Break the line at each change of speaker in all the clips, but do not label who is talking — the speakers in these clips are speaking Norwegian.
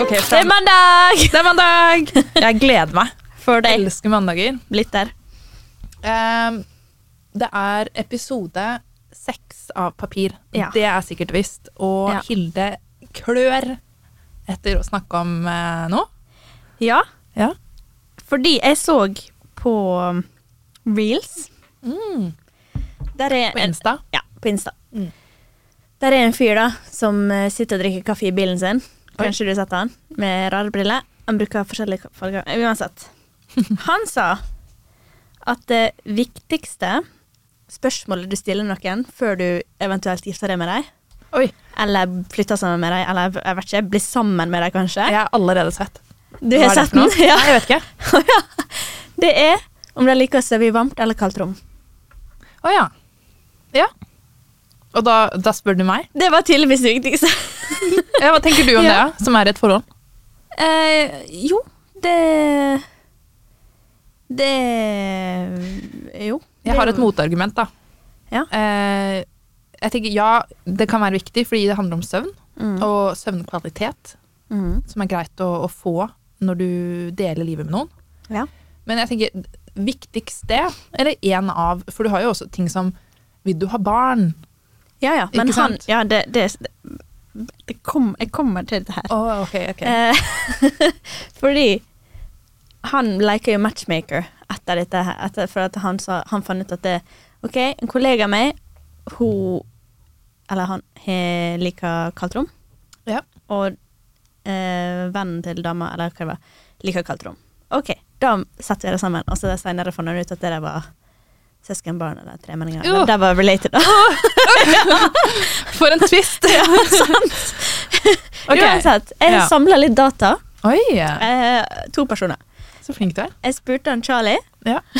Ok,
Det
fra-
er mandag!
det er mandag! Jeg gleder meg.
For
Jeg
deg.
elsker mandager.
Blitt der.
Ehm, det er episode seks av Papir.
Ja.
Det er sikkert visst. Og
Ja.
Hilde klør etter å snakke om eh, noe.
Ja,
Ja.
fordi jeg så på um, Reels. Der er
På
en-
Mm, Insta.
Ja, på Insta.
Mm.
Der er en fyr da, som eh, sitter og drikker kaffe i bilen sin. Kanskje du har sett han med rare briller. Han bruker forskjellige ka- farger. Eh, Uansett. Han sa at det viktigste spørsmålet du stiller noen før du eventuelt gifter deg med dem,
Oi,
eller flytter sammen med dem, eller jeg vet ikke, blir sammen med dem kanskje.
jeg er allerede svett.
Du
Hva
har
er det
sett
for noe?
den? Ja.
Nei, jeg vet ikke.
Det er om de liker å sove i varmt eller kaldt rom.
Å ja. Ja. Og da, da spør du meg.
Det var tydeligvis det viktigste.
Ja, hva tenker du om
Ja.
det, som er et forhold?
Eh, jo, det Det Jo.
Jeg har et motargument, da.
Ja.
Eh, jeg tenker ja, det kan være viktig, fordi det handler om søvn.
Mm.
Og søvnkvalitet,
Mm.
som er greit å, å få når du deler livet med noen.
Ja.
Men jeg tenker viktigst det, eller én av For du har jo også ting som Vil du ha barn?
ja, ja. Men
Ikke
han
sant?
Ja, det, det, det kom, Jeg kommer til det her.
Oh, ok, ok.
Eh, fordi han leker jo matchmaker etter dette her. Etter, for at han, sa, han fant ut at det OK, en kollega av meg, hun Eller han he, liker kaldt rom.
Ja.
Og eh, vennen til dama, eller hva det var, liker kaldt rom. OK, da setter vi det sammen. Og så senere fant han ut at det der var søskenbarn eller tremenninger.
Jo.
Men Det var related, da.
For en twist! Ok.
Uansett, jeg
Ja.
samla litt data.
Oi,
Eh, to personer.
Eh, så flink du er.
Jeg spurte han Charlie.
Ja.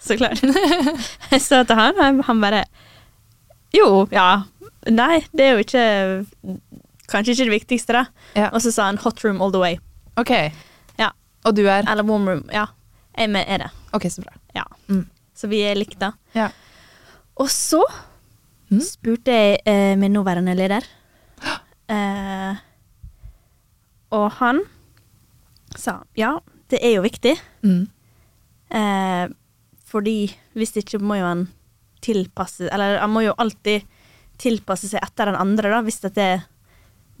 Så klart. Jeg sa til han, og han bare Jo, ja. Nei, det er jo ikke Kanskje ikke det viktigste, da.
Ja.
Og så sa han hot room all the way.
Ok.
Ja.
Og du er
Eller warm room. Ja. Jeg med er det.
Ok, så bra.
Ja.
Mm.
Så vi er likt, da.
Ja.
Og så
Mm.
spurte jeg eh, min nåværende leder. Eh, og han sa ja, det er jo viktig.
Mm.
Eh, fordi hvis ikke må jo han tilpasse Eller han må jo alltid tilpasse seg etter den andre, da, hvis, at det,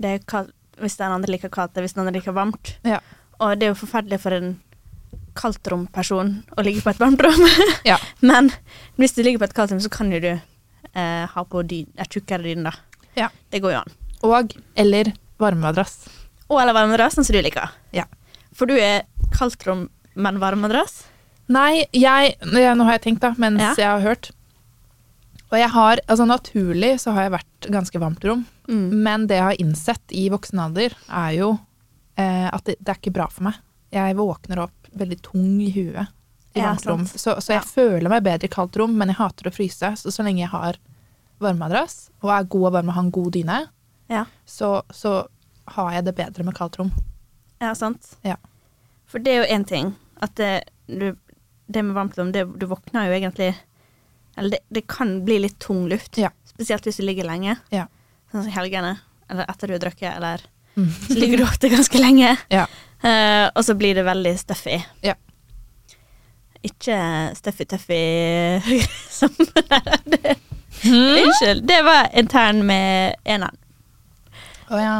det er kal- hvis den andre liker kaldt, hvis den andre liker varmt.
Ja.
Og det er jo forferdelig for en kaldtromperson å ligge på et varmt rom.
Ja.
Men hvis du ligger på et kaldtrom, så kan jo du eh, ha på dyn, eh, tjukkere dyne, da.
Ja.
Det går jo an.
Og eller varmemadrass.
Og eller varmedrass, sånn som du liker.
Ja.
For du er kaldtrom, men varmedrass.
Nei, jeg ja, Nå har jeg tenkt, da, mens
Ja.
jeg har hørt. Og jeg har Altså, naturlig så har jeg vært ganske varmt rom. Men det jeg har innsett i voksen alder, er jo eh, at det, det er ikke bra for meg. Jeg våkner opp veldig tung i huet i
Ja,
varmt rom.
sant.
Så, så jeg føler meg bedre i kaldt rom, men jeg hater å fryse. Så så lenge jeg har varmeadress og er god og varm og har en god dyne,
Ja.
så, så har jeg det bedre med kaldt rom.
Ja, sant.
Ja.
For det er jo én ting at det, du, det med varmtrom, det, du våkner jo egentlig Eller det, det kan bli litt tung luft,
Ja.
spesielt hvis du ligger lenge.
Ja.
Sånn som i helgene, eller etter du har drukket, eller
Mm.
Så ligger du ofte ganske lenge,
Ja.
eh, og så blir det veldig stuffy.
Ja.
Ikke stuffy-tuffy som det. Unnskyld. Det var intern med eneren.
Å ja.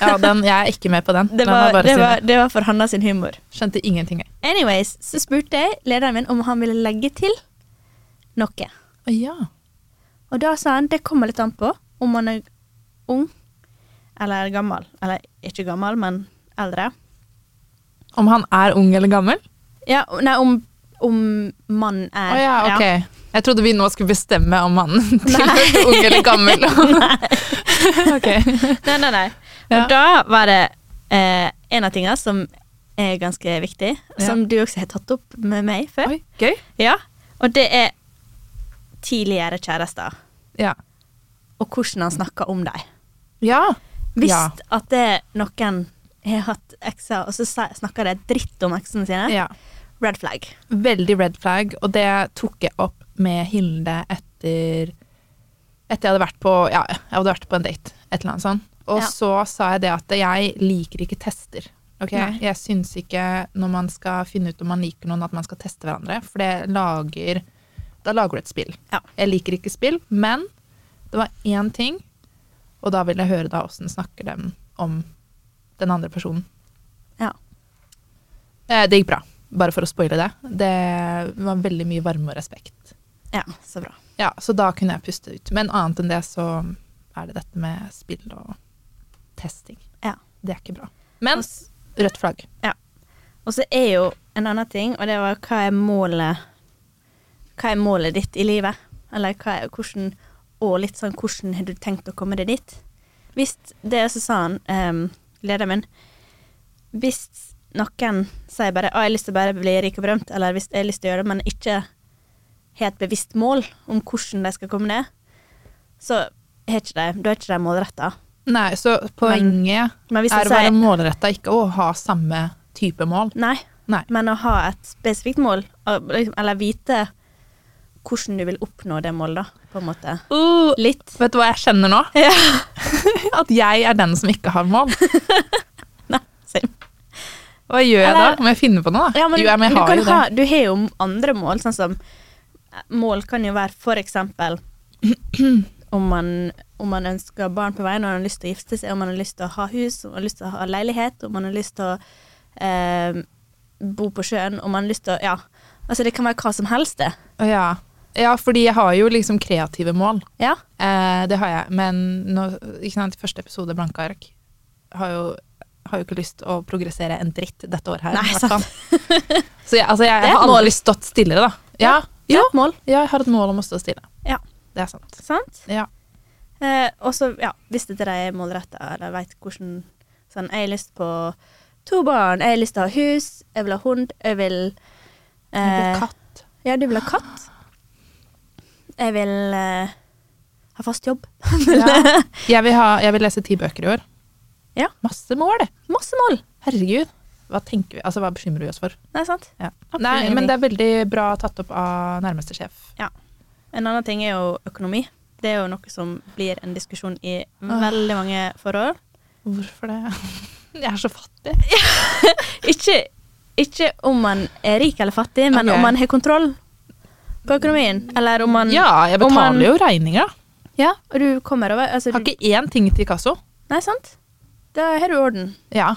ja den, jeg er ikke med på den.
Det,
La meg
var-
bare
det,
si
var- det var for Hanna sin humor.
Skjønte ingenting, jeg.
Anyways, så spurte jeg lederen min om han ville legge til noe.
Å ja.
Og da sa han det kommer litt an på om man er ung eller gammel. Eller ikke gammel, men eldre.
Om han er ung eller gammel?
Ja, nei, om, om man er
Å ja, ok. Jeg trodde vi nå skulle bestemme om mannen tilhørte ung eller gammel. ok.
Ja. Nei, nei, nei. Og
Ja.
da var det eh, en av tingene som er ganske viktig, som du også har tatt opp med meg før.
Oi, gøy.
Ja, og det er tidligere kjærester,
Ja.
og hvordan han snakker om dem.
Ja.
Hvis
Ja.
at det er noen har hatt ekser, og så sa- snakker de dritt om eksene sine,
ja.
red flag.
Veldig red flag, og det tok jeg opp med Hilde etter Etter jeg hadde vært på, ja, jeg hadde vært på en date, et eller annet sånt. Og
Ja.
så sa jeg det at jeg liker ikke tester. Ok?
Nei.
Jeg syns ikke når man skal finne ut om man liker noen, at man skal teste hverandre. For det lager Da lager du et spill.
Ja.
Jeg liker ikke spill, men det var én ting, og da vil jeg høre da åssen snakker dem om den andre personen.
Ja.
Eh, det gikk bra, bare for å spoile det. Det var veldig mye varme og respekt.
Ja, så bra.
Ja, Så da kunne jeg puste ut. Men annet enn det så er det dette med spill og testing.
Ja.
Det er ikke bra. Men
Og s-
rødt flagg.
Og så er jo en annen ting, og det var hva er målet Hva er målet ditt i livet? Eller hva er, hvordan Og litt sånn hvordan har du tenkt å komme deg dit? Hvis det så sa han, ehm, lederen min Hvis noen sier bare 'Å, jeg har lyst til å bare bli rik og berømt', eller hvis 'jeg har lyst til å gjøre det', men ikke har et bevisst mål om hvordan de skal komme ned, så har ikke de, da er ikke de målretta.
Nei, så poenget
Men hvis
er
de
å være
sier
målretta, ikke å ha samme type mål.
Nei,
Nei.
men å ha et spesifikt mål, og liksom- eller vite hvordan du vil oppnå det målet, da, på en måte.
Uh,
Litt.
vet du hva jeg kjenner nå? At jeg er den som ikke har mål.
Nei, same.
Hva gjør jeg da?
Eller-
Må jeg finne på noe, da?
Ja, men
jo, jeg, men jeg
du,
har
kan
jo det.
ha, du har jo andre mål, sånn som eh, Mål kan jo være for eksempel om man, om man ønsker barn på veien, om man har lyst til å gifte seg, om man har lyst til å ha hus, om man har lyst til å ha leilighet, om man har lyst til å eh, bo på sjøen, om man har lyst til å Ja. Altså, det kan være hva som helst, det.
Ja. ja, fordi jeg har jo liksom kreative mål.
Ja.
Eh, det har jeg. Men nå, ikke sant, første episode, blanke ark, har jo, har jo ikke lyst å progressere en dritt dette året her.
Nei,
i hvert
sant.
fall. Så jeg, altså, jeg
Det er et
har
mål.
aldri stått stillere, da. Ja,
Det
jo.
er et mål.
ja, jeg har et mål om å stå stille.
Ja.
Det er sant.
Sant?
Ja.
Eh, og så, ja, hvis det til de er målretta, eller veit hvordan Sånn, jeg har lyst på to barn, jeg har lyst til å ha hus, jeg vil ha hund, jeg vil
Jeg blir
eh,
katt.
Ja, du vil ha katt. Jeg vil eh, ha fast jobb. Ja.
Ja. Jeg, vil ha, jeg vil lese ti bøker i år.
Ja.
Masse mål.
Masse mål!
Herregud. Hva tenker vi, altså hva bekymrer vi oss for?
Nei, sant?
Ja.
Absolutt
Nei, men
ingenting.
det er veldig bra tatt opp av nærmeste sjef.
En annen ting er jo økonomi. Det er jo noe som blir en diskusjon i veldig mange forhold.
Hvorfor det? Jeg er så fattig.
Ikke, ikke om man er rik eller fattig, men
Ok.
om man har kontroll på økonomien. Eller om man
Ja, jeg
om
betaler
man-
jo regninger, da.
Ja, og du kommer over altså,
Jeg har
du,
ikke én ting til kasso.
Nei, sant? Da har du orden.
Ja,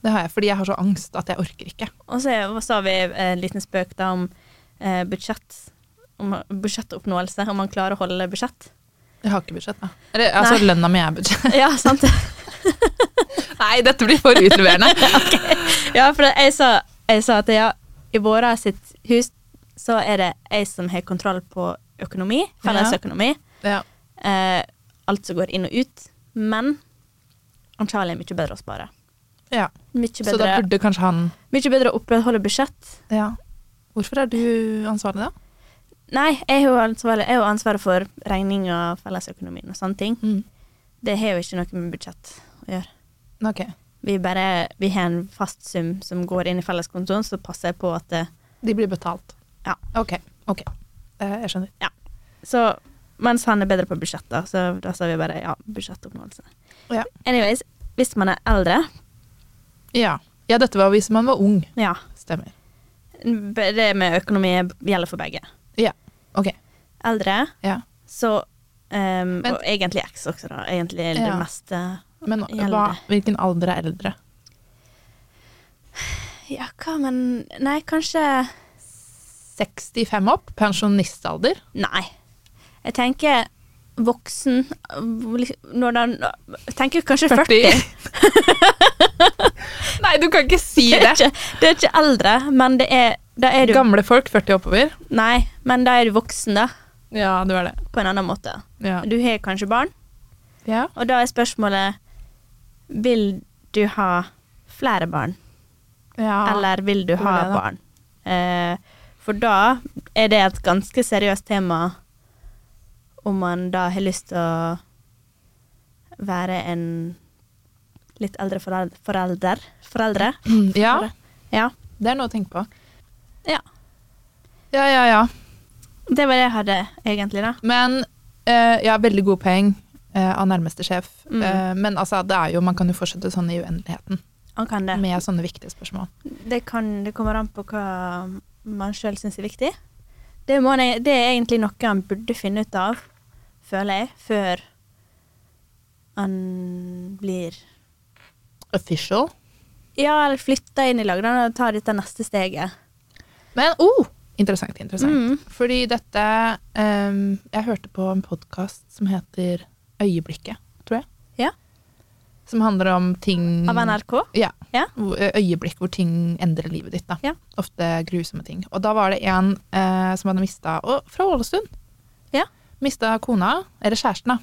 det har jeg, fordi jeg har så angst at jeg orker ikke.
Og så er- så har vi en liten spøk da om eh, budsjett. Om budsjettoppnåelse, om man klarer å holde budsjett.
Jeg har ikke budsjett, da. Eller, altså, lønna mi er budsjett.
Ja, sant?
Nei, dette blir for utleverende.
ja, for jeg sa, jeg sa at ja, i våre sitt hus så er det jeg som har kontroll på økonomi, fellesøkonomi.
ja.
Eh, alt som går inn og ut. Men han Charlie er mye bedre å spare.
ja.
Mye
Så da
bedre,
burde kanskje han
mye bedre å opprettholde budsjett.
ja. Hvorfor er du ansvarlig, da?
Nei, jeg har jo ansvaret, jeg har jo ansvaret for regninga, fellesøkonomien og sånne ting.
Mm.
Det har jo ikke noe med budsjett å gjøre.
Ok.
Vi, bare, vi har en fast sum som går inn i felleskontoen, så passer jeg på at det
De blir betalt.
Ja.
Ok. ok. Eh, Jeg skjønner.
Så mens han er bedre på budsjett, da, så da sa vi bare ja, budsjettoppnåelse.
Ja.
Anyways, hvis man er eldre,
Ja. ja, dette var hvis man var ung.
ja.
Stemmer.
Det med økonomi gjelder for begge.
Ja. Ok.
Eldre,
Ja.
så ehm,
Men-
Og egentlig eks også, da. Egentlig er det eh,
Ja.
meste
Men
Gjelder
hva,
det.
hvilken alder er eldre?
Ja, hva, men Nei, kanskje
65 opp? Pensjonistalder?
Nei. Jeg tenker voksen Når den Jeg tenker kanskje 40.
Nei, du kan ikke si
Det er,
det!
ikke, det er ikke eldre, men det er, da er du
Gamle folk 40 oppover?
Nei, men da er du voksen, da.
Ja, du er det.
På en annen måte.
Ja.
Du har kanskje barn,
Ja.
og da er spørsmålet Vil du ha flere barn,
Ja.
eller vil du
det
ha
var det, da.
barn? Eh, for da er det et ganske seriøst tema om man da har lyst til å være en litt eldre forelder. forelder foreldre.
Mm, ja,
Ja.
det er noe å tenke på.
ja.
Ja, ja, ja.
Det var det jeg hadde egentlig, da.
Men eh, ja, veldig gode poeng. eh, av nærmeste sjef.
Mm.
Eh, men altså, det er jo, man kan jo fortsette sånn i uendeligheten
Han kan det.
med sånne viktige spørsmål.
Det, kan, det kommer an på hva man sjøl syns er viktig. Det, må han, det er egentlig noe han burde finne ut av, føler jeg, før han blir
Official.
Ja, eller flytter inn i Lagdalen og tar dette neste steget.
Men oh, interessant, interessant.
Mm.
Fordi dette ehm, Jeg hørte på en podkast som heter Øyeblikket, tror jeg.
Ja.
Som handler om ting
Av NRK.
Ja.
Ja.
Hvor- Øyeblikk hvor ting endrer livet ditt. Da.
Ja.
Ofte grusomme ting. Og da var det en eh, som hadde mista Og fra Ålesund.
Ja.
Mista kona, eller kjæresten, da.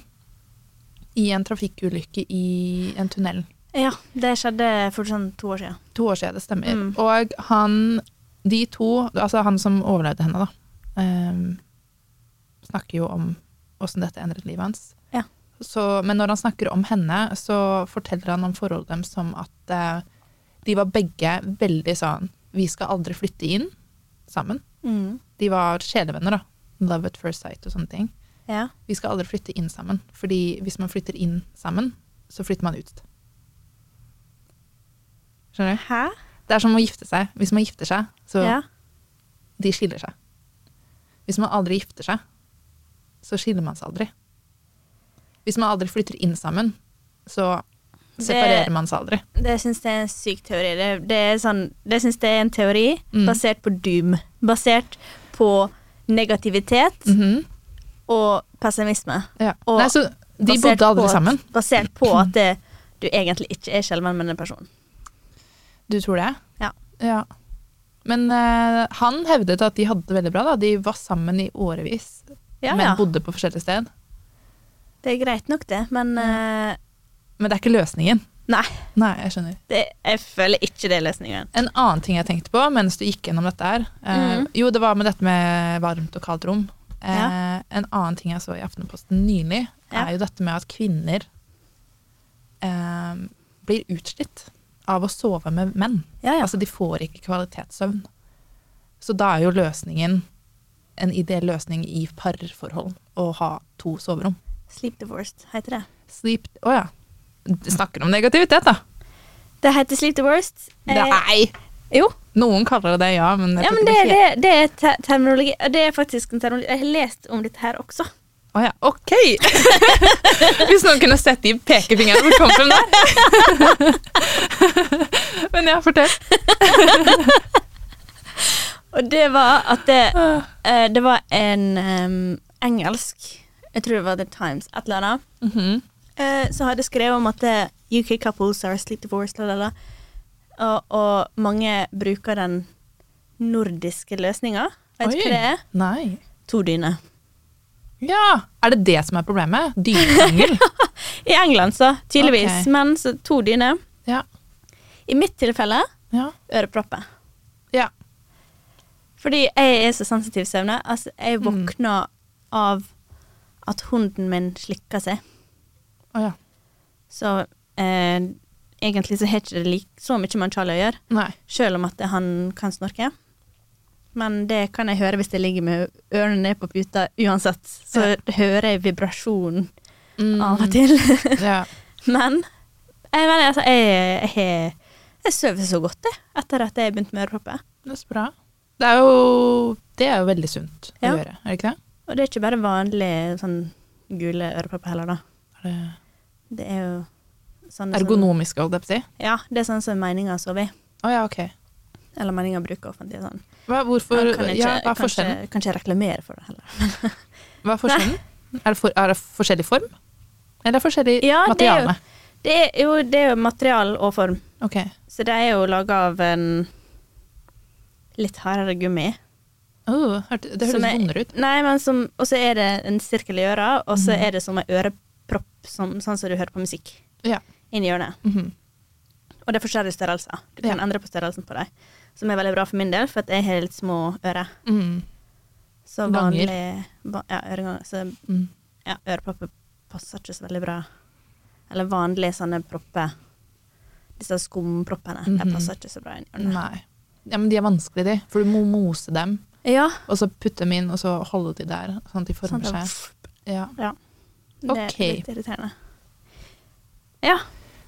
I en trafikkulykke i en tunnel.
Ja, det skjedde for sånn to år siden.
To år siden, det stemmer.
Mm.
Og han, de to, altså han som overlevde henne, da, ehm, snakker jo om åssen dette endret livet hans.
Ja.
Så, men når han snakker om henne, så forteller han om forholdet dem som at eh, de var begge veldig sånn Vi skal aldri flytte inn sammen.
Mm.
De var sjelevenner, da. Love at first sight og sånne ting.
Ja.
Vi skal aldri flytte inn sammen. Fordi hvis man flytter inn sammen, så flytter man ut. Skjønner du?
Hæ?
Det er som å gifte seg. Hvis man gifter seg, så
Ja.
de skiller seg. Hvis man aldri gifter seg, så skiller man seg aldri. Hvis man aldri flytter inn sammen, så
Det-
separerer man seg aldri.
Det syns jeg er en syk teori. Det, det, er sånn, det syns jeg er en teori
Mm.
basert på doom. Basert på negativitet
Mhm.
og pessimisme.
ja.
Og
Nei, så de
Basert
bodde aldri
på at,
sammen.
Basert på at det, du egentlig ikke er skjelven, men en person.
Du tror det?
Ja.
ja. Men eh, han hevdet at de hadde det veldig bra. Da. De var sammen i årevis,
Ja,
men
ja.
bodde på forskjellige sted.
Det er greit nok, det, men eh,
Men det er ikke løsningen.
Nei.
Nei, jeg skjønner.
det, jeg føler ikke det er løsningen.
En annen ting jeg tenkte på mens du gikk gjennom dette her eh,
Mhm.
Jo, det var med dette med varmt og kaldt rom. Eh, En annen ting jeg så i Aftenposten nylig,
Ja.
er jo dette med at kvinner eh, blir utslitt av å sove med menn.
Ja, ja.
Altså, de får ikke kvalitetssøvn. Så da er jo løsningen, en ideell løsning i parforhold, å ha to soverom.
Sleep divorced, heter det.
Sleep Å ja. Snakker om negativitet, da.
Det heter sleep divorced. Eh,
Nei!
jo.
Noen kaller det det, ja, men jeg
Ja,
tror
men
ikke
det,
er helt-
det, det er te terminologi. Det er faktisk en terminologi. Jeg har lest om dette her også.
Å ja, ok! Hvis noen kunne sett de pekefingrene hvor kom frem der. Men ja, fortell.
Og det var at det,
Ah.
eh, det var en em, engelsk Jeg tror det var The Times, et eller annet.
Mhm.
Eh, så hadde jeg skrevet om at eh, UK couples are sleep divorced, la, la, la. Og, og mange bruker den nordiske løsninga. Vet du
Oi.
hva det er?
Nei.
To dyner.
Ja, er det det som er problemet? Dyrekrangel?
I England, så. Tydeligvis.
Ok.
Men så to dyner.
Ja.
I mitt tilfelle
Ja.
ørepropper.
ja.
Fordi jeg er så sensitiv søvne. Altså, jeg
Mm.
våkner av at hunden min slikker seg.
Å ja.
Så eh, egentlig så har ikke det like, så mye med Charlie å gjøre.
Nei.
Selv om at han kan snorke. Men det kan jeg høre hvis jeg ligger med ørene ned på puta uansett. Så
Ja.
hører jeg vibrasjonen
Mm.
av og til.
Ja.
Men jeg, mener, altså, jeg, jeg, jeg sover så godt jeg, etter at jeg begynte med ørepropper.
Det er så bra. Det er jo, det er jo veldig sunt å
Ja.
gjøre, er det ikke det?
Og det er ikke bare vanlige sånn, gule ørepropper heller, da.
Er det
Mm. Det er jo sånn
ergonomisk, holdt jeg på å si.
Som, ja, det er sånn som meninga sover i.
Å ja, ok.
Eller meninga bruker offentlig. og Sånn.
Hva, hvorfor,
Man kan ikke,
ja, hva er
kan ikke-
forskjellen?
Kan ikke reklamere for det heller.
Hva er, forskjellen? Er, det for, er det forskjellig form? Eller er det forskjellig
Ja, det er jo-
materiale?
Det er jo, det er jo material og form.
Ok.
Så det er jo laga av en litt hardere gummi.
Oh, hørte- det
Som
høres
er-
vondere ut. Mm.
Nei, men som, og så er det en sirkel i øra, og så er det som en ørepropp, som, sånn som du hører på musikk,
Ja.
inni hjørnet.
Mhm.
Og det er forskjellige størrelser. Du kan
Ja.
endre på størrelsen på dem. Som er veldig bra for min del, for at jeg har litt små ører.
Mm.
Så
Ganger.
vanlig va- Ja, øreganger. Så
Mm.
ja, ørepropper passer ikke så veldig bra. Eller vanlige sånne propper. Disse skumproppene.
Mhm.
De passer ikke så bra inn i ørene.
Nei. Ja, men de er vanskelige, de. For du må mose dem,
Ja,
og så putte dem inn, og så holde de der, sånn at de
sånn
former
at-
seg. Ja.
Ja. Det
Ok.
er litt irriterende. Ja.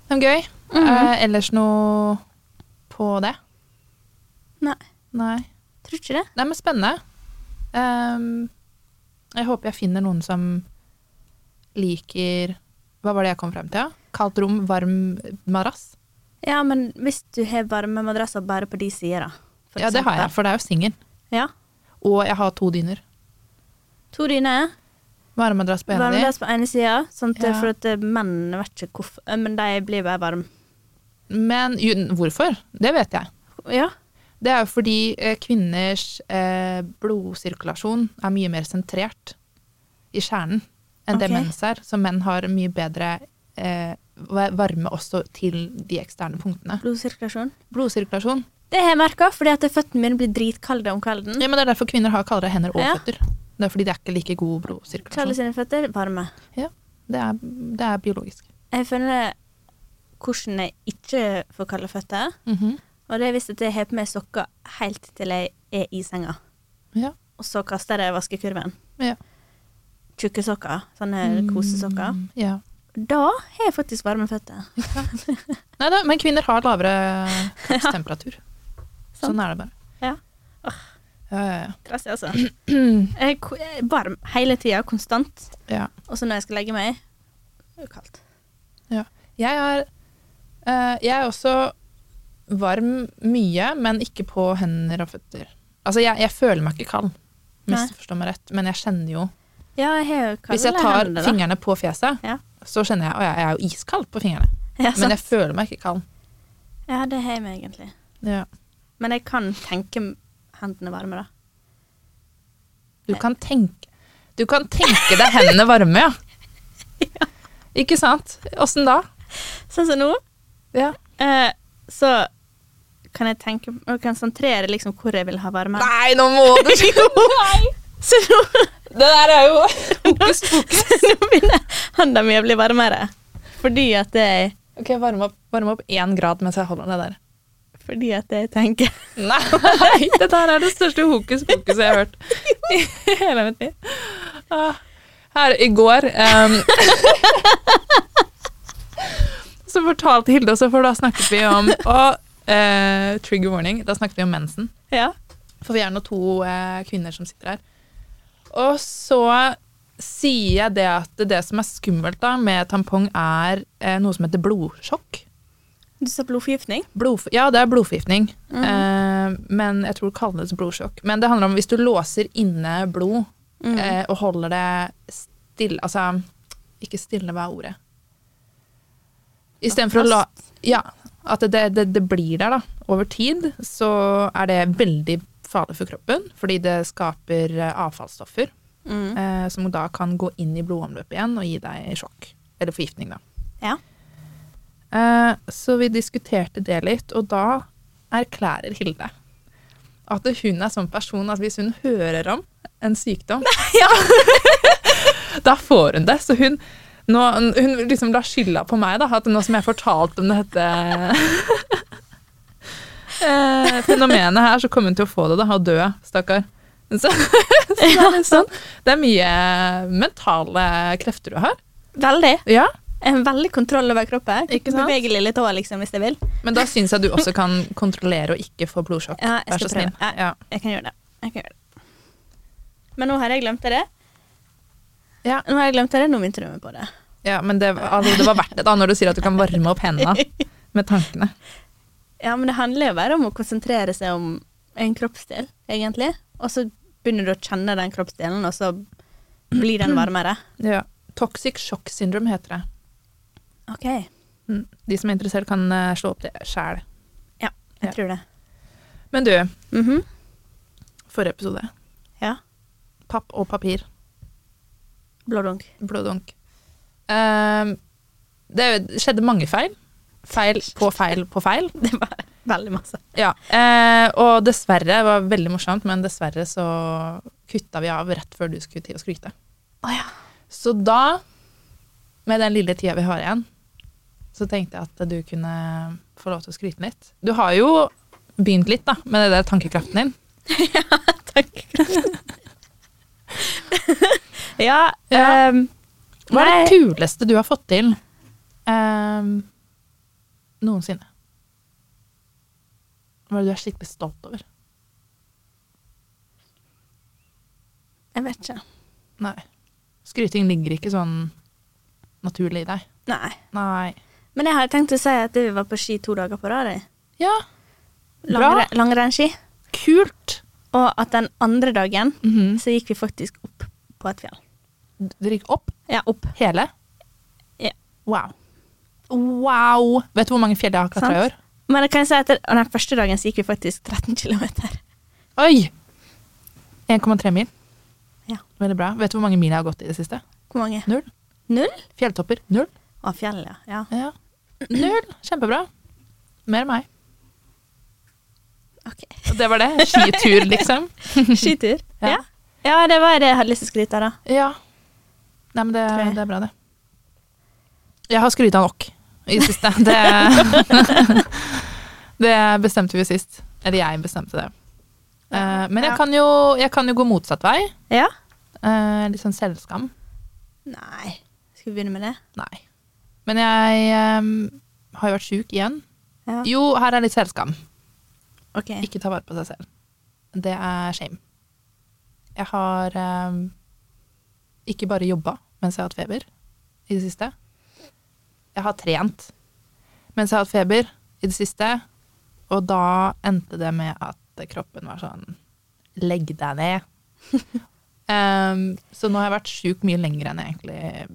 Men Sånn gøy.
Mhm.
eh, ellers noe på det?
Nei.
Nei.
Tror ikke det.
Nei, men spennende. Ehm, jeg håper jeg finner noen som liker Hva var det jeg kom frem til? ja? Kaldt rom, varm madrass?
Ja, men hvis du har varme madrasser bare på de sider, da. for
Ja, det har jeg,
eksempel.
for det er jo singel.
Ja.
Og jeg har to dyner.
To dyner,
Varmmadrass på en av de.
varmemadrass på ene sida, sånn at-
Ja.
for at eh, menn vet ikke hvorfor eh, Men de blir bare varme.
Men jo, hvorfor? Det vet jeg.
Ja.
Det er jo fordi eh, kvinners eh, blodsirkulasjon er mye mer sentrert i kjernen enn det
Ok.
menns er. Så menn har mye bedre eh, varme også til de eksterne punktene.
Blodsirkulasjon.
Blodsirkulasjon
Det har jeg merka, fordi at føttene mine blir dritkalde om kvelden.
Ja, men Det er derfor kvinner har kaldere hender og
Ja.
føtter. Det er fordi det er ikke like god
Charlie
blodsirkulasjon.
sine føtter er varme.
Det er, det er biologisk.
Jeg føler hvordan jeg ikke får kalde føtter. Og det er hvis at jeg har på meg sokker helt til jeg er i senga.
Ja.
Og så kaster jeg det i vaskekurven.
Ja.
Tjukke sokker. Sånne kosesokker.
Mm, ja.
Da har jeg faktisk varme føtter.
Nei da, men kvinner har lavere kroppstemperatur. sånn er det bare.
Ja.
Ja, ja, ja.
Trassig, altså. Jeg er ko- jeg er varm hele tida, konstant.
ja.
Og så når jeg skal legge meg, er det kaldt.
Jeg er, eh, jeg er også varm mye, men ikke på hender og føtter. Altså, jeg, jeg føler meg ikke kald,
Nei.
misforstå meg rett, men jeg kjenner jo
Ja, jeg har jo kalde
Hvis jeg tar
hender, da.
fingrene på fjeset,
Ja.
så kjenner jeg at jeg er jo iskald på fingrene.
Ja, sant.
Men jeg føler meg ikke kald.
ja, det har jeg meg egentlig.
Ja.
Men jeg kan tenke m- hendene varme, da.
Du kan tenke Du kan tenke deg hendene varme, ja. Ikke sant? Åssen da?
Sånn som nå,
Ja.
eh, så kan jeg tenke og konsentrere liksom hvor jeg vil ha varme.
Nei, nå må du
Så nå,
Det der er jo hokus pokus.
nå begynner hånda mi å bli varmere. Fordi at jeg,
Ok, varm opp, varm opp én grad mens jeg holder det der.
fordi at jeg tenker
Nei, det der er det største hokus pokuset jeg har hørt i hele mitt liv. Ah, Her i går ehm, em, Så fortalte Hilde også, for da snakket vi om og, eh, Trigger warning. Da snakket vi om mensen.
Ja.
For vi er nå to eh, kvinner som sitter her. Og så sier jeg det at det som er skummelt da med tampong, er eh, noe som heter blodsjokk.
Du sa blodforgiftning?
Blodf ja, det er blodforgiftning.
Mhm.
Eh, men jeg tror det kalles blodsjokk. Men det handler om hvis du låser inne blod eh, og holder det stille Altså, ikke stille, hva er ordet? Istedenfor å la Ja. At det, det, det blir der, da. Over tid så er det veldig farlig for kroppen, fordi det skaper eh, avfallsstoffer
Mm.
eh, som da kan gå inn i blodomløpet igjen og gi deg sjokk. Eller forgiftning, da.
Ja.
Eh, så vi diskuterte det litt, og da erklærer Hilde at hun er sånn person at hvis hun hører om en sykdom,
Ja.
da får hun det. Så hun, nå, hun liksom la skylda på meg, da, at nå som jeg fortalte om dette eh, fenomenet her, så kommer hun til å få det da, og dø, stakkar. Så, så det, er litt sånn. det er mye mentale krefter du har.
Veldig.
Ja,
Jeg har veldig kontroll over kroppen.
Ikke
Ikke
sant?
Beveger lille tåa liksom, hvis jeg vil.
Men da syns jeg du også kan kontrollere og ikke få blodsjokk.
Ja, jeg
Vær
skal
så snill.
prøve. Ja,
Ja.
Jeg kan gjøre det. Jeg kan gjøre det. Men nå har jeg glemt det.
Ja.
Nå har jeg glemt det, nå begynte du med på det.
Ja, men det, altså, det var verdt det da, når du sier at du kan varme opp hendene med tankene.
Ja, men det handler jo bare om å konsentrere seg om en kroppsdel, egentlig. Og så begynner du å kjenne den kroppsdelen, og så blir den varmere.
Ja. Toxic shock syndrome heter det.
OK, jeg
Mm. De som er interessert, kan eh, slå opp det sjæl. Ja.
tror det.
Men du,
Mhm.
forrige episode.
Ja.
Papp og papir.
Blådunk.
Blodunk. Ehm, det skjedde mange feil. Feil på feil på feil.
Det var veldig masse.
Ja, eh, og dessverre, det var veldig morsomt, men dessverre så kutta vi av rett før du skulle til å skryte.
Å ja.
Så da, med den lille tida vi har igjen, så tenkte jeg at du kunne få lov til å skryte litt. Du har jo begynt litt da, med det der tankekraften din.
Takk. ja,
Ja.
ehm,
Hva er
Nei.
det kuleste du har fått til ehm, noensinne? Hva er det du er skikkelig stolt over?
Jeg vet ikke.
Nei. Skryting ligger ikke sånn naturlig i deg.
Nei.
Nei.
Men jeg har tenkt å si at vi var på ski to dager på rad. jeg.
Ja, Bra.
Langre, Langrennsski.
kult!
Og at den andre dagen
Mhm.
så gikk vi faktisk opp på et fjell.
Dere gikk opp
Ja, opp.
hele?
Ja.
Wow. Wow! Vet du hvor mange fjell jeg har klatra i år?
Men jeg kan si at den første dagen så gikk vi faktisk 13 km.
Oi! 1,3 mil.
Ja.
Veldig bra. Vet du hvor mange mil jeg har gått i det siste?
Hvor mange?
Null.
Null?
Fjelltopper. Null.
Å, fjell, ja. ja.
Ja. Null. Kjempebra. Mer meg.
Ok.
Og Det var det. Skitur, liksom.
Skitur.
Ja.
ja. ja, det var det jeg hadde lyst til å skryte av, da.
Ja. Nei, men det,
Tror jeg.
det er bra, det. Jeg har skryta nok i det siste. Det, det bestemte vi sist. Eller jeg bestemte det. Eh, Men jeg
Ja.
kan jo, jeg kan jo gå motsatt vei.
Ja?
Eh, Litt sånn selvskam.
Nei. Skal vi begynne med det?
Nei. Men jeg eh, har jo vært sjuk igjen.
Ja.
Jo, her er litt selvskam.
Ok.
Ikke ta vare på seg selv. Det er shame. Jeg har eh, ikke bare jobba mens jeg har hatt feber i det siste. Jeg har trent mens jeg har hatt feber i det siste. Og da endte det med at kroppen var sånn Legg deg ned. Em, så nå har jeg vært sjuk mye lenger enn jeg egentlig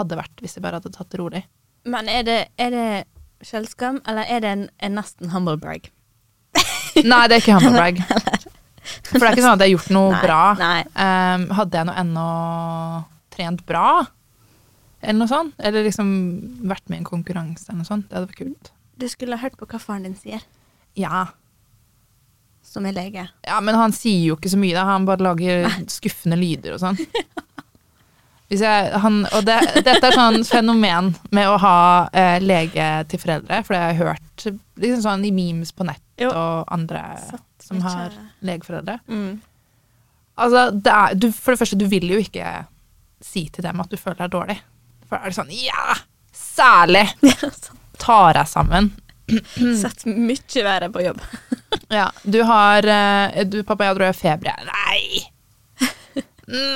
hadde vært hvis jeg bare hadde tatt det rolig.
Men er det, er det selvskam, eller er det en, en nesten humble brag?
Nei, det er ikke humble brag. For det er ikke sånn at jeg har gjort noe
Nei,
bra.
nei.
Ehm, hadde jeg nå ennå trent bra, eller noe sånt, eller liksom vært med i en konkurranse eller noe sånt, det hadde vært kult.
Du skulle ha hørt på hva faren din sier,
Ja.
som er lege.
ja, men han sier jo ikke så mye, da. han bare lager skuffende lyder og sånn. Hvis jeg, han, og det, dette er sånn fenomen med å ha eh, lege til foreldre, for det har jeg hørt liksom sånn i memes på nett
Jo.
og andre
Satt
som
mye.
har legeforeldre.
Mm.
Altså, det er, du, for det første, du vil jo ikke si til dem at du føler deg dårlig. For da er det sånn Ja! Særlig! Tar deg sammen. Mm.
Sett mye verre på jobb.
Ja, du har eh, Du, pappa, jeg tror jeg har feber. jeg. Nei!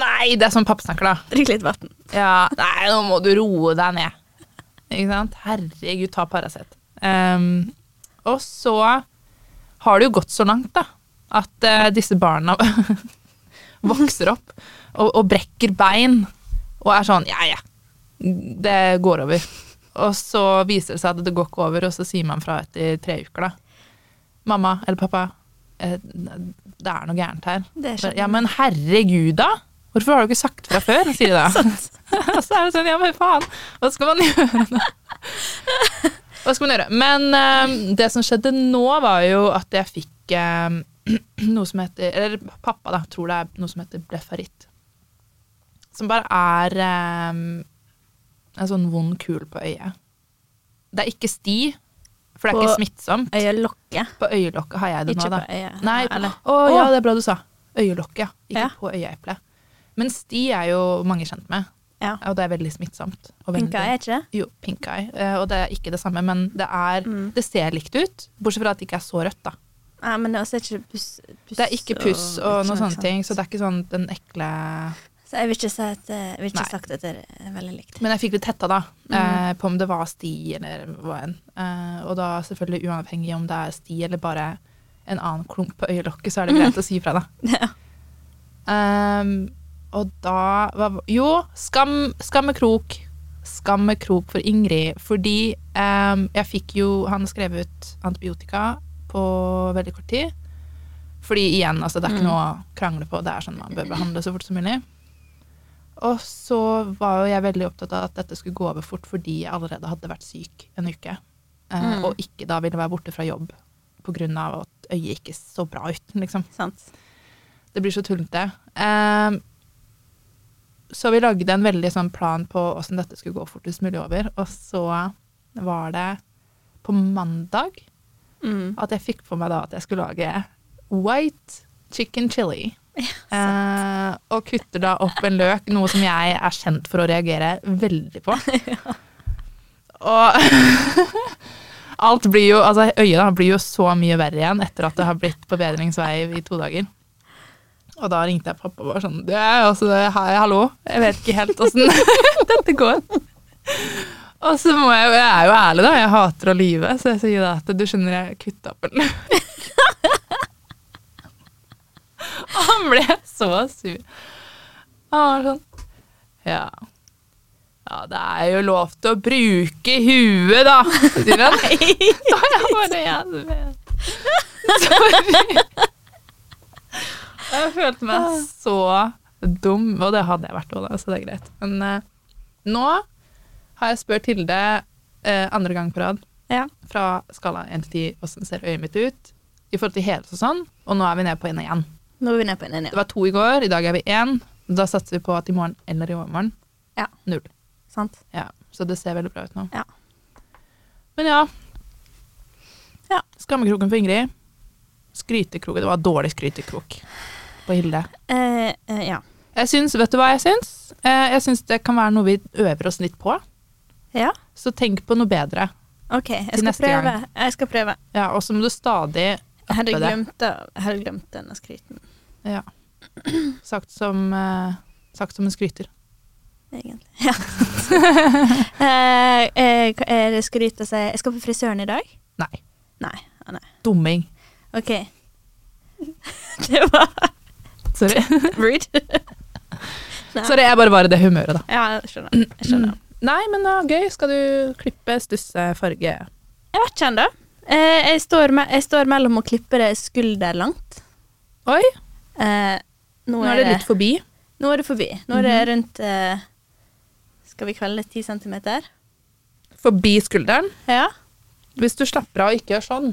Nei! Det er sånn pappa snakker, da.
Drikk litt vann.
Ja, nei, nå må du roe deg ned. Ikke sant? Herregud, ta Paracet. Ehm, og så har det jo gått så langt, da, at eh, disse barna vokser opp og, og brekker bein og er sånn Ja, ja, det går over. Og så viser det seg at det går ikke over, og så sier man fra etter tre uker, da. Mamma eller pappa, eh, det er noe gærent her.
Det skjønner
Ja, men herregud, da! Hvorfor har du ikke sagt fra før? sier de da. Og så er det sånn, ja, men faen, hva skal man gjøre? nå? Hva skal man gjøre? Men eh, det som skjedde nå, var jo at jeg fikk eh, noe som heter Eller pappa, da, tror det er noe som heter blefaritt. Som bare er eh, en sånn vond kul på øyet. Det er ikke sti, for det er
På
ikke smittsomt.
Øyelokket.
På øyelokket har jeg det
Ikke
nå, da.
på øyet.
Nei,
Eller-
å ja, det er bra du sa. Øyelokket, ja. Ikke
Ja.
på øyeeplet. Men sti er jo mange kjent med,
Ja.
og det er veldig smittsomt. og
Pinka
veldig-
er ikke det?
Jo, pink eye. Eh, Og det er ikke det samme, men det, er, det ser likt ut. Bortsett fra at det ikke er så rødt, da.
Nei, men det er også ikke puss, puss
Det er ikke puss og noen sånne
sant.
ting, så det er ikke sånn den ekle
Så jeg vil ikke si at eh, jeg vil ikke
Nei.
sagt at det er veldig likt.
Men jeg fikk litt hetta, da, eh, på om det var sti eller hva enn. Eh, og da selvfølgelig uavhengig om det er sti eller bare en annen klump på øyelokket, så er det greit å si fra, da.
Ja.
Ehm, og da hva, Jo, skam, skammekrok. Skammekrok for Ingrid. Fordi ehm, jeg fikk jo Han skrev ut antibiotika på veldig kort tid. Fordi igjen, altså, det er ikke noe å krangle på. Det er sånn man bør behandle så fort som mulig. Og så var jo jeg veldig opptatt av at dette skulle gå over fort fordi jeg allerede hadde vært syk en uke. eh,
Mm.
Og ikke da ville være borte fra jobb pga. at øyet ikke så bra ut, liksom.
Sant?
Det blir så tullete. Ehm, så vi lagde en veldig sånn plan på åssen dette skulle gå fortest mulig over. Og så var det på mandag
Mm.
at jeg fikk for meg da at jeg skulle lage white chicken chili. Eh, og kutter da opp en løk, noe som jeg er kjent for å reagere veldig på. Og alt blir jo, altså øyet da blir jo så mye verre igjen etter at det har blitt på bedringsvei i to dager. Og da ringte jeg pappa og var sånn, det er altså, hei, hallo, jeg vet ikke helt hvordan dette går. Og så må jeg, jeg er jo ærlig da, jeg hater å lyve, så jeg sier da at du skjønner jeg kuttet opp en løk. Og han ble så sur. Han var sånn, ja, ja, det er jo lov til å bruke huet da, sier han. Og jeg bare, ja, du vet. Sorry. Jeg følte meg så dum, og det hadde jeg vært også da, så det er greit. Men eh, nå har jeg spurt Hilde eh, andre gang på rad
Ja.
fra skala 1 til 10, hvordan ser øyet mitt ut i forhold til helse og sånn, og nå er vi nede på 1 igjen.
Nå er vi nede på en enig.
Det var to i går, i dag er vi 1. Da satser vi på at i morgen eller i overmorgen
Ja.
null.
Sant?
Ja, så det ser veldig bra ut nå.
Ja.
Men ja.
Ja.
Skammekroken for Ingrid. Skrytekroken. Det var dårlig skrytekrok på Hilde.
Eh, eh, ja.
Jeg syns, vet du hva jeg syns? Eh, jeg syns det kan være noe vi øver oss litt på.
Ja,
Så tenk på noe bedre.
OK. Jeg
Til
skal
neste
prøve.
gang.
Jeg skal prøve.
Ja, og så må du stadig
Jeg hadde
Oppe det.
glemt, det- jeg hadde glemt denne skryten,
Ja. Sagt som, eh, sagt som en skryter.
egentlig. Ja. eh, eh, hva er det skryt å si Jeg skal på frisøren i dag.
Nei.
Nei. ah, nei.
Dumming.
OK. det var
Sorry.
rude. Nei.
Sorry, jeg bare var i det humøret, da.
Ja, jeg skjønner. Jeg skjønner.
Nei, men det var gøy. Skal du klippe, stusse, farge?
Jeg vet ikke ennå. Eh, jeg, står me jeg står mellom å klippe det skulderlangt.
Oi,
Eh, nå,
nå er det litt forbi.
nå er det forbi. Nå er
Mhm.
det rundt eh, Skal vi kalle det 10 centimeter?
Forbi skulderen.
Ja.
Hvis du slapper av og ikke gjør sånn,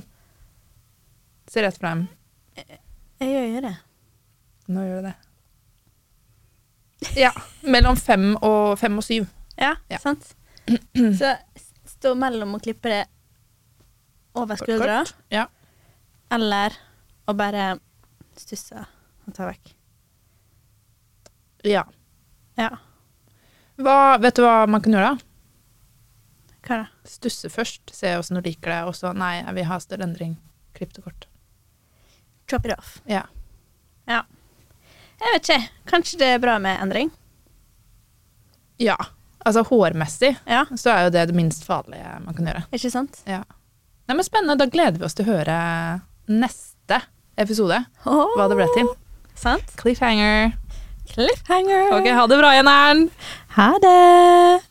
se rett frem.
Jeg gjør jo det.
Nå gjør du det. Ja. Mellom fem og, fem og syv.
Ja,
Ja.
sant? Så stå mellom å klippe det over
Kort,
skuldra,
kort. Ja.
eller å bare stusse og ta vekk.
ja.
Ja.
Hva, vet du hva man kan gjøre, da?
Hva da?
Stusse først, se åssen du liker det, og så nei, jeg vil ha større endring. Klipp det kort.
Chop it off.
Ja.
Ja. Jeg vet ikke. Kanskje det er bra med endring?
ja. Altså hårmessig
Ja,
så er jo det det minst farlige man kan gjøre.
ikke sant?
Ja. Nei, men Spennende. Da gleder vi oss til å høre neste episode.
Åh,
Hva det ble til.
Sant?
Cliffhanger.
Cliffhanger.
Ok, ha det bra, Jenneren.
Ha det!